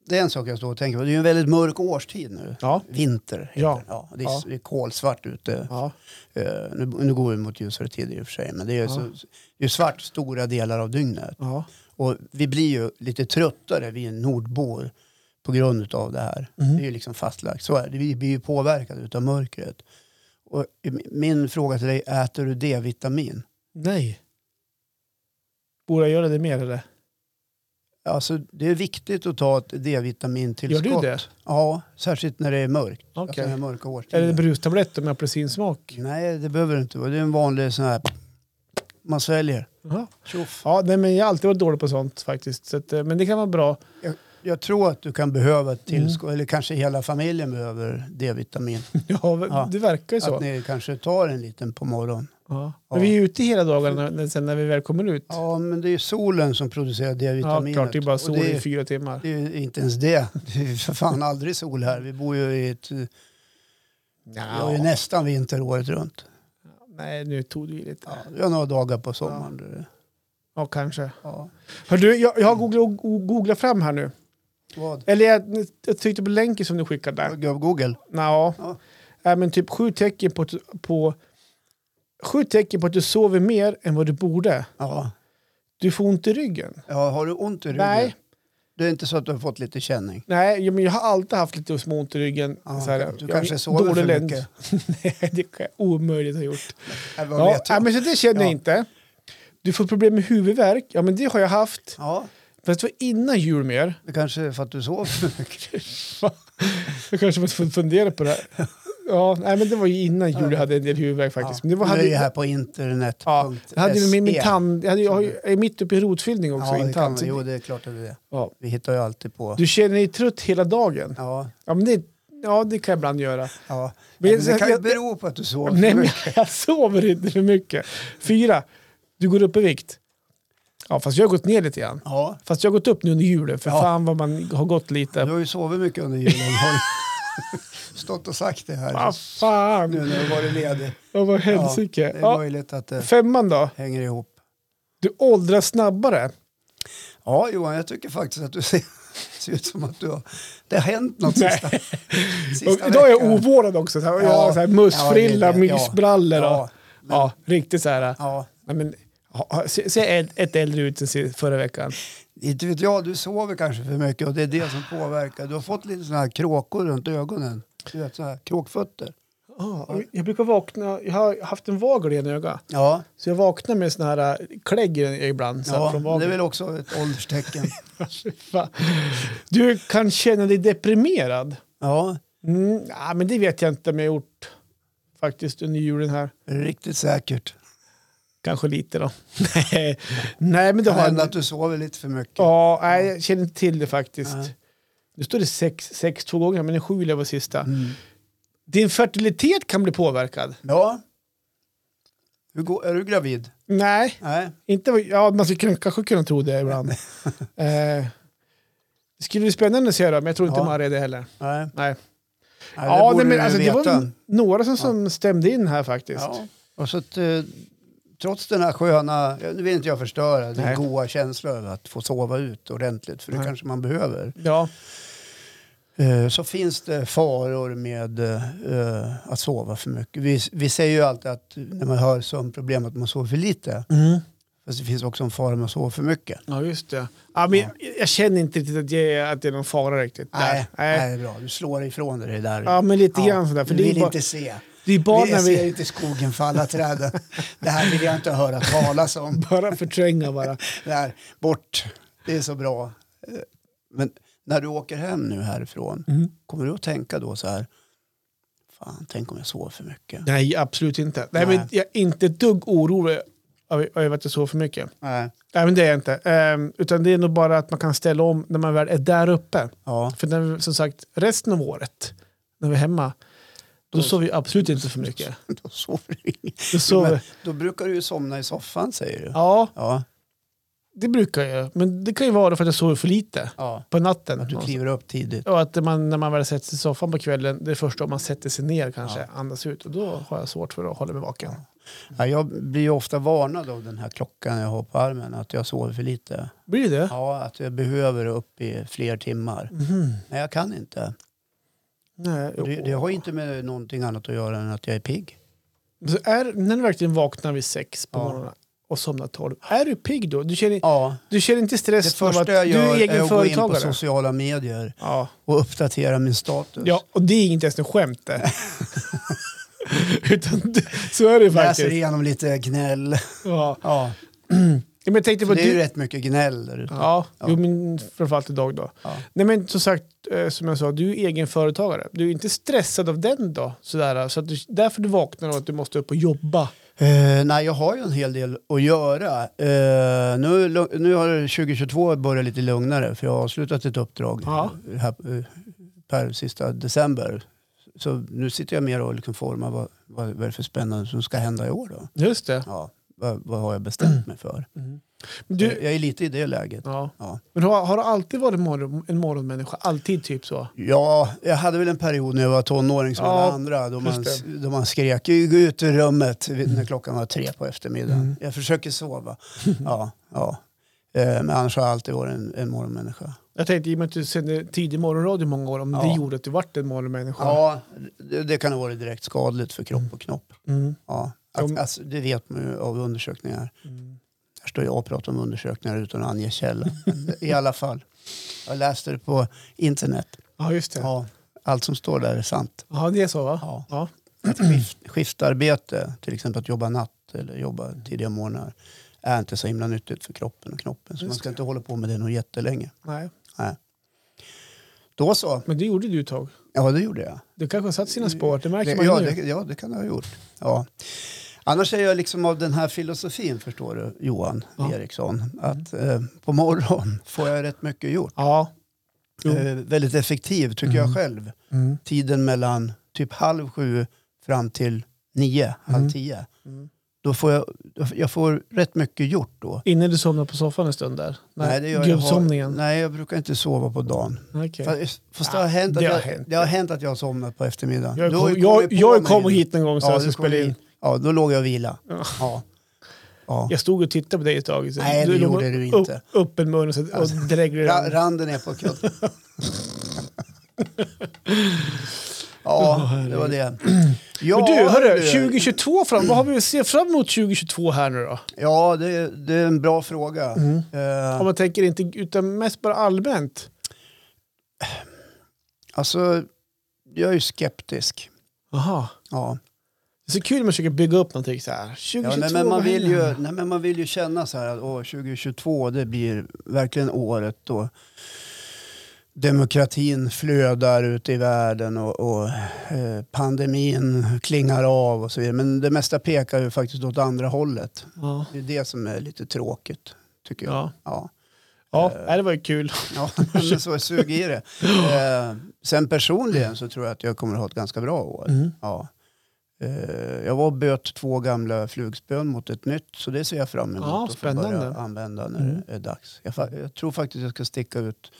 det är en sak jag står och tänker på. Det är ju en väldigt mörk årstid nu. Ja. Vinter heter Ja. det. Ja, det är Ja. det är kolsvart ute. Ja. Eh, nu, nu går vi mot ljusare tider i och för sig. Men det är ju så, det är ju svart stora delar av dygnet. ja. Och vi blir ju lite tröttare, vi nordbor, på grund av det här. Mm. Det är ju liksom fastlagt. Så är det. Vi blir ju påverkade av mörkret. Och i- min fråga till dig, äter du D-vitamin? Nej. Borde jag göra det mer eller? Alltså, det är viktigt att ta ett D-vitamintillskott. Gör du det? Ja, särskilt när det är mörkt. Alltså Okej. den här mörka Är det årstiden. brustabletter med apelsinsmak? Nej, det behöver det inte vara. Det är en vanlig sån här... Man sväljer. Jaha. Tjoff. Ja, nej, men jag har alltid varit dålig på sånt faktiskt. Så att, eh, men det kan vara bra. Jag tror att du kan behöva ett Mm. tillskott, eller kanske hela familjen behöver D-vitamin. Ja, Ja. det verkar ju så. Att ni kanske tar en liten på morgonen. Ja. Ja. Men vi är ute hela dagarna när, sen när vi väl kommer ut. Ja, men det är ju solen som producerar Ja, D-vitaminet. klart. Det är bara Och sol det i är, fyra timmar. det är ju inte ens det. Det är ju för fan aldrig sol här. Vi bor ju i ett... Vi har ju Ja. nästan vinter året runt. Nej, nu tog du i lite. Ja, Ja, vi har några dagar på sommaren. då det- kanske. Ja. Hör du, jag, jag har googlat, googlat fram här nu. Vad? Eller jag, jag tryckte på länken som du skickade där. Google? Nå. Ja. Ja. men typ sju tecken på, att du- på, sju tecken på att du sover mer än vad du borde. Ja. Du får ont i ryggen. ja. Har du ont i ryggen? Nej. Det är inte så att du har fått lite känning? Nej, ja, men jag har alltid haft lite små ont i ryggen. Ja, så här, du jag- kanske sover dålig för länd. mycket. Nej, det kan jag omöjligt ha gjort. Eller vad Ja, vet jag? ja, men så det känner Ja. jag inte. Du får problem med huvudvärk. Ja, men det har jag haft. ja, Fast det var innan jul mer. det kanske är för att du sov för mycket. Jag kanske måste få fundera på det här. Ja, nej, men det var ju innan jul jag hade en del huvudvärk faktiskt. Men det var, Nu hade, är det här på internet. Ja, jag hade ju min, min tand, jag, hade, ju- jag har ju- jag är mitt uppe i rotfyllning också. Mm. Ja, i en det kan tand, man, så jo, det, det är klart att det är det. ja. Vi hittar ju alltid på. Du känner dig trött hela dagen? Ja, Ja, men det, ja det kan jag ibland göra. ja. Men Men, jag- det kan ju jag- bero på att du sov Nej, för men mycket. jag sover inte för mycket. Fyra, du går upp i vikt. Ja, fast jag har gått ner lite grann. Ja, Fast jag har gått upp nu under julen, för Ja. fan vad man har gått lite. du har ju sovit mycket under julen. Har du stått och sagt det här. Ah, Nu fan, när du har varit ledig. ja, vad det helsike. är Ja, möjligt att det femman då? hänger ihop. Du åldras snabbare. Ja, Johan, jag tycker faktiskt att du ser, ser ut som att du har... Det har hänt något Nej. sista, sista Och idag är jag veckan. ovårdad också. Så här, jag Ja. har så här mussfrilla, Ja, det är det. Ja. mysbrallor och... Ja, men- Ja, riktigt så här. Ja, Nej, men, ha- ha- se, se ett, ett äldre ut än se- förra veckan. inte vet jag. Du sover kanske för mycket och det är det som påverkar. Du har fått lite sådana här kråkor runt ögonen. Du vet, så här, kråkfötter. jag brukar vakna, jag har haft en vagel i ena öga. Ja, Så jag vaknar med sån här äh, klägg i- ibland. Så här, ja från det är väl vageln. också ett ålderstecken. Fan. Du kan känna dig deprimerad. Ja, Mm, nej, men det vet jag inte om jag har gjort faktiskt under julen här. riktigt säkert. Kanske lite då. nej, men det Det kan har hända jag att du sover lite för mycket. Ja, nej, jag känner inte till det faktiskt. Nej. Nu står det sex, sex två gånger, men en sju var sista. Mm. Din fertilitet kan bli påverkad. Ja. Hur går, är du gravid? Nej, Nej. inte, vad- ja, man skulle kunna- kanske kunna tro det ibland. eh, det skulle bli spännande att se då, men jag tror inte Ja. man är det heller. Nej. Nej. Nej, ja, borde nej, men du alltså, det veta. var några som, som stämde in här faktiskt. Ja. Och så att, eh, trots den här sköna, nu vill inte jag förstöra, Nej. den goa känslan över att få sova ut ordentligt, för det Nej. kanske man behöver, Ja. eh, så finns det faror med eh, att sova för mycket. Vi, vi säger ju alltid att när man hör sömnproblem att man sover för lite, Mm. fast det finns också en fara med att sova för mycket. ja, just det. Ja, men Jag, jag känner inte riktigt att, jag, är- att det är någon fara riktigt. där. Nej, nej. det är bra. Du slår ifrån dig det där. Ja, men lite grann sådär. För du det är, vill bara, inte se. det är bara Vi när jag vi... ser inte skogen för alla träden. Det här vill jag inte höra talas om. Bara förtränga bara. Det här, bort, det är så bra. Eh, Men när du åker hem nu härifrån, Mm. kommer du att tänka då så här, fan tänk om jag sover för mycket? Nej, absolut inte. Nej, Nej. Men jag är inte ett dugg orolig över över att jag sover för mycket. Nej. Nej, men det är jag inte. Ehm, utan det är nog bara att man kan ställa om när man väl är där uppe. Ja, För när vi, som sagt, resten av året, när vi är hemma, då sover vi absolut inte för mycket. då sover du inget. Då sover, Men Då brukar du ju somna i soffan säger du. ja, Ja. det brukar jag. Men det kan ju vara för att jag sover för lite ja. på natten. Att du någonstans. kliver upp tidigt. Och att man, när man väl sätter sig i soffan på kvällen, det är första om man sätter sig ner kanske, andas ut. Och då har jag svårt för att hålla mig vaken. Ja, jag blir ju ofta varnad av den här klockan jag har på armen, att jag sover för lite. Blir det? Ja, att jag behöver upp i fler timmar. Mhm. Nej, jag kan inte. Nej, Och Det, det har ju inte med någonting annat att göra än att jag är pigg. Så är, när du verkligen vaknar vid sex på Ja. morgonen, och somnar 12. Är du pigg då? Du känner, Ja, du känner inte det stress av att första du jag är gör är egen att gå in på företagare? sociala medier Ja. och uppdatera min status. ja, och det är inte ens en skämt det. Utan det, så är det Läser faktiskt. igenom lite gnäll. Ja. Ja, Ja, Men jag tänkte på för det är ju du... rätt mycket gnäll där ute. Ja, Ja. Jo, men framförallt idag då. Ja. Nej men som sagt, eh, som jag sa, du är egenföretagare. Du är inte stressad av den då, sådär. Så att du, därför du vaknar och att du måste upp och jobba. Eh, nej, jag har ju en hel del att göra. Eh, nu, lu- nu har 2022 börjat lite lugnare för jag har avslutat ett uppdrag Ja. här, eh, per sista december. Så nu sitter jag mer och liksom formar vad, vad, vad är det för spännande som ska hända i år. Då. Just det. Ja, vad, vad har jag bestämt mig för? Du, Jag är lite i det läget. ja. Ja. Men har, har du alltid varit morgon, en morgonmänniska? Alltid typ så? Ja, jag hade väl en period när jag var tonåring som Ja, alla andra då man, just då man skrek "Gå ut ur rummet när klockan var tre på eftermiddagen. Mm. Jag försöker sova. Ja, ja. Eh, Men annars har jag alltid varit en, en morgonmänniska. Jag tänkte i och med att du sände tidig morgonradio i många år, om det Ja. gjorde att du vart en morgonmänniska. Ja, det, det kan ha varit direkt skadligt för kropp och knopp. Mm. Ja. Om- Att, alltså, det vet man ju av undersökningar. Mm. Här står jag och pratar om undersökningar utan att ange källa. Men I alla fall. Jag läste det på internet. Ja, just det. Ja. Ja, allt som står där är sant. det är så va? Ja. Ja. Att skift, skiftarbete, till exempel att jobba natt eller jobba tidiga morgnar, är inte så himla nyttigt för kroppen och knoppen. Så Just man ska det. inte hålla på med det nog jättelänge. Nej. Då så. Men det gjorde du ett tag. Ja, det gjorde jag. Du kanske har satt sina spår, det märker Det, man ja, nu. det, ja, det kan jag ha gjort. Ja. Annars är jag liksom av den här filosofin, förstår du, Johan Ja. Eriksson. Att eh, på morgon får jag rätt mycket gjort. Ja. Jo. Eh, väldigt effektiv, tycker jag själv. Mm. Tiden mellan typ halv sju fram till nio, halv tio. Mm. Då får jag, jag får rätt mycket gjort då. Innan du somnar på soffan en stund där? jag. Gubbsomningen? Nej, jag brukar inte sova på dagen. Okej. Ah, Fast, fast det, har hänt att det har jag, hänt. det har hänt att jag har somnat på eftermiddagen. Jag Då har kom, ju kommit jag, på jag mig kom det. hit någon gång så Ja, jag du skulle spela kom in. Ja, då låg jag och vila. Ja. Ja. Ja. Jag stod och tittade på dig ett tag. Så Nej, det låg gjorde du upp- inte. Öppen mun och, så- och Alltså, dräglig Ra- rand. Randen är på kudden. ja, det var det. Ja, Men du, hörru, 2022 fram, vad har vi att se fram emot 2022 här nu då? Ja, det, det är en bra fråga. Mm. Eh, Om man tänker inte, utan mest bara allmänt. alltså, jag är ju skeptisk. Aha. Ja. Det är så kul när man försöker bygga upp någonting så här. 2022, Ja, nej, men man vad vill händer? ju, nej, men man vill ju känna så här att åh, 2022 det blir verkligen året då demokratin flödar ute i världen och, och eh, pandemin klingar av och så vidare. Men det mesta pekar ju faktiskt åt andra hållet. Ja. Det är det som är lite tråkigt tycker jag. Ja. Ja. Ja, Eh, nej, det var ju kul. Ja, men så sug i det. Eh, sen personligen så tror jag att jag kommer att ha ett ganska bra år. Mm. Ja. Eh, jag var och böt två gamla flugspön mot ett nytt så det ser jag fram emot Ja, att få spännande. Mm. börja använda när det är dags. Jag, fa- jag tror faktiskt att jag ska sticka ut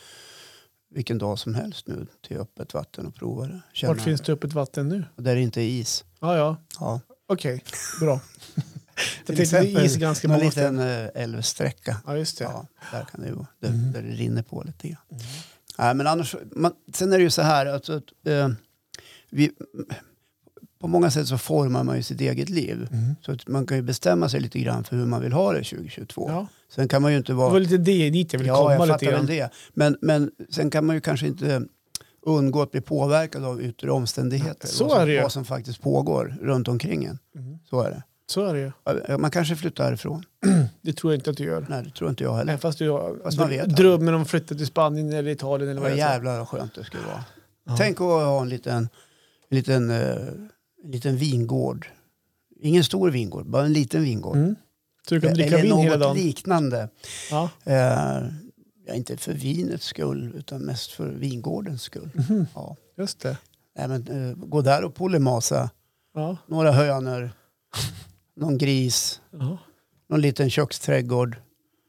vilken dag som helst nu till öppet vatten och prova det. Känna Vart finns det öppet vatten nu? Där det inte är is. Ja, ja. Ja. Okej, bra. Jag Till tänkte det är is exempel ganska Någon många ställen. liten eh, älvsträcka. Ja, Mm. just det. Ja, där kan det ju vara. Där, där det rinner på lite grann. Nej, men annars, man, sen är det ju så här att, att eh, vi, på många sätt så formar man ju sitt eget liv. Mm. Så att man kan ju bestämma sig lite grann för hur man vill ha det 2022. Ja. Sen kan man ju inte Det var vara... lite det dit jag ville Ja, komma jag lite fattar väl grann. det. Men, men sen kan man ju kanske inte undgå att bli påverkad av yttre omständigheter. Så vad som, är det ju. Vad som faktiskt pågår runt omkring en. Mm. Så är det. Så är det ju. Ja, Man kanske flyttar härifrån. Det tror jag inte att du gör. Nej, det tror inte jag heller. Nej, fast du har Fast man vet dr- aldrig. drömmen om att flytta till Spanien eller Italien eller vad Vad det är. jävlar vad skönt det skulle vara. Ja. Tänk att ha en liten, en liten, eh, en liten vingård. Ingen stor vingård, bara en liten vingård. Mm. Så du kan dricka Eller vin hela något dagen. liknande. Ja. Eh, ja, inte för vinets skull, utan mest för vingårdens skull. Mhm. Ja. Just det. Nej, men, eh, gå där och polemasa. Ja. Några hönor, någon gris, ja. någon liten köksträdgård.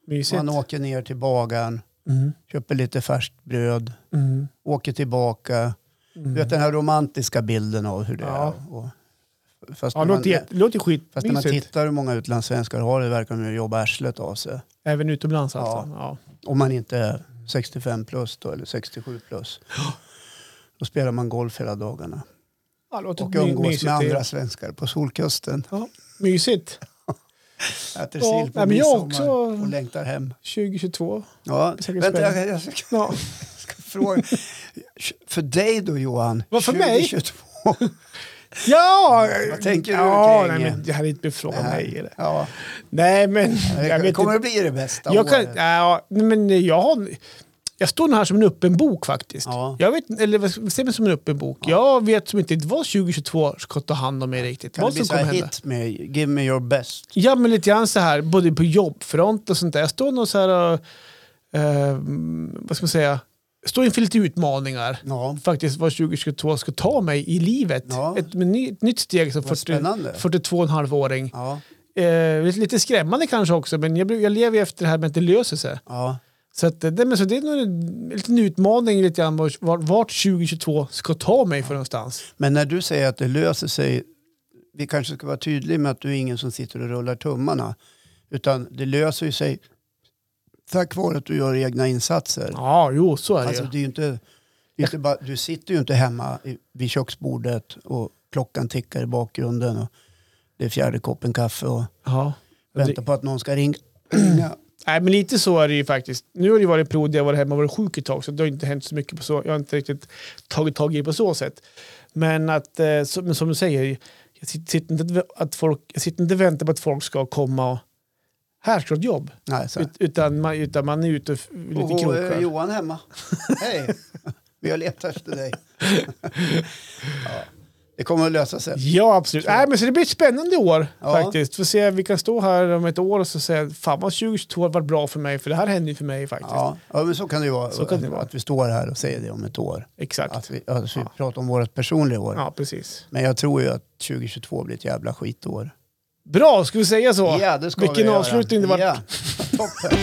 Mysigt. Man åker ner till bagaren, Mm. köper lite färskt bröd, Mm. åker tillbaka. Mm. Du vet den här romantiska bilden av hur det Ja. är. Och, fast Ja, det när man, låter, jätte- det låter fast när man skitmysigt. tittar hur många utlandssvenskar har det verkar de ju jobba arslet av sig. Även utomlands Ja. alltså. Ja. Om man inte är 65 plus då, eller 67 plus. Då spelar man golf hela dagarna. Ja, det låter Och my- umgås mysigt. med det. andra svenskar på solkusten. Ja. Mysigt. Äter Ja, sill på nej, men jag midsommar också- och längtar hem. 2022. Ja, Säkert vänta, spännande. jag, jag ska Ja. fråga. För dig då Johan? Vad, för mig? 2022? Ja, Vad tänker du ja, kring- nej, men Det hade inte blivit fråga mig. Eller? Ja, Nej, men jag det vet kommer inte. att bli det bästa Jag, kan, året. ja, nej, men jag, har, jag står nog här som en öppen bok faktiskt. Ja. Jag vet, eller vad- se mig som en öppen bok. Jag vet som inte vad 2022 ska ta hand om mig riktigt. Kan det vad bli som så kommer här hända. hit med Give me your best? Ja, men lite grann så här, både på jobbfront och sånt där. Jag står nog så här, och, eh, vad ska man säga, Jag står inför lite utmaningar. Ja, Faktiskt vad 2022 ska ta mig i livet. Ja. Ett, men ny, ett nytt steg som vad 40, spännande. 42,5-åring. Ja, Eh, lite skrämmande kanske också, men jag, blir- jag lever ju efter det här med att det löser sig. ja. Så, att, eh, nej, men så det är nog en liten utmaning lite grann vart, vart 2022 ska ta mig för någonstans. Men när du säger att det löser sig, vi kanske ska vara tydliga med att du är ingen som sitter och rullar tummarna. Utan det löser ju sig tack vare att du gör egna insatser. Ja, jo, så är det Alltså, ju. det är ju inte, det är inte bara, du sitter ju inte hemma i- vid köksbordet och klockan tickar i bakgrunden och det är fjärde koppen kaffe och Ja. väntar på att någon ska ringa. Ja. Nej, men lite så är det ju faktiskt. Nu har det ju varit period där jag varit hemma och varit sjuk ett tag, så det har inte hänt så mycket på så. Jag har inte riktigt tagit tag i det på så sätt. Men att, eh, så, men som du säger, jag sitter, sitter inte att folk, jag sitter inte och väntar på att folk ska komma och här ska du ha ett jobb. Nej, så. här. Ut, utan, man, utan man är ute och f- lite Och, och, eh, krokar. Johan hemma. Hej, vi har letat efter dig. ja. Det kommer att lösa sig. Ja, absolut. Nej, men så det blir ett spännande år Ja. faktiskt. Får se, vi kan stå här om ett år och så säga, fan vad 2022 har varit bra för mig, för det här hände ju för mig faktiskt. Ja, ja men så kan det ju vara. Så kan det vara. Att vi står här och säger det om ett år. Exakt. Att vi, att vi Ja. pratar om vårt personliga år. Ja, precis. Men jag tror ju att 2022 blir ett jävla skitår. Bra, ska vi säga så? Ja, det ska Vilken vi göra. avslutning det var. Ja, toppen.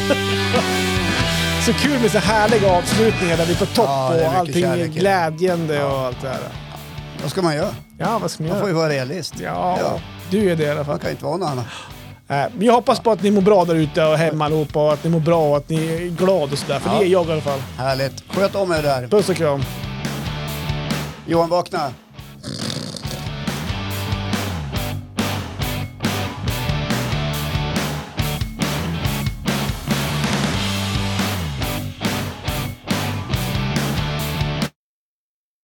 Så kul med så härliga avslutningar där vi får topp Ja, det är och mycket allting är kärlek i det. glädjande och allt det här. Vad ska man göra? Ja, vad ska man Man får göra? ju vara realist. Ja, Ja. du är det i alla Man fall. kan ju inte vara någon annan. Äh, men jag hoppas på att ni mår bra där ute och hemma allihopa och att ni mår bra och att ni är glada och sådär. För Ja. det är jag i alla fall. Härligt. Sköt om er där. Puss och kram. Johan, vakna.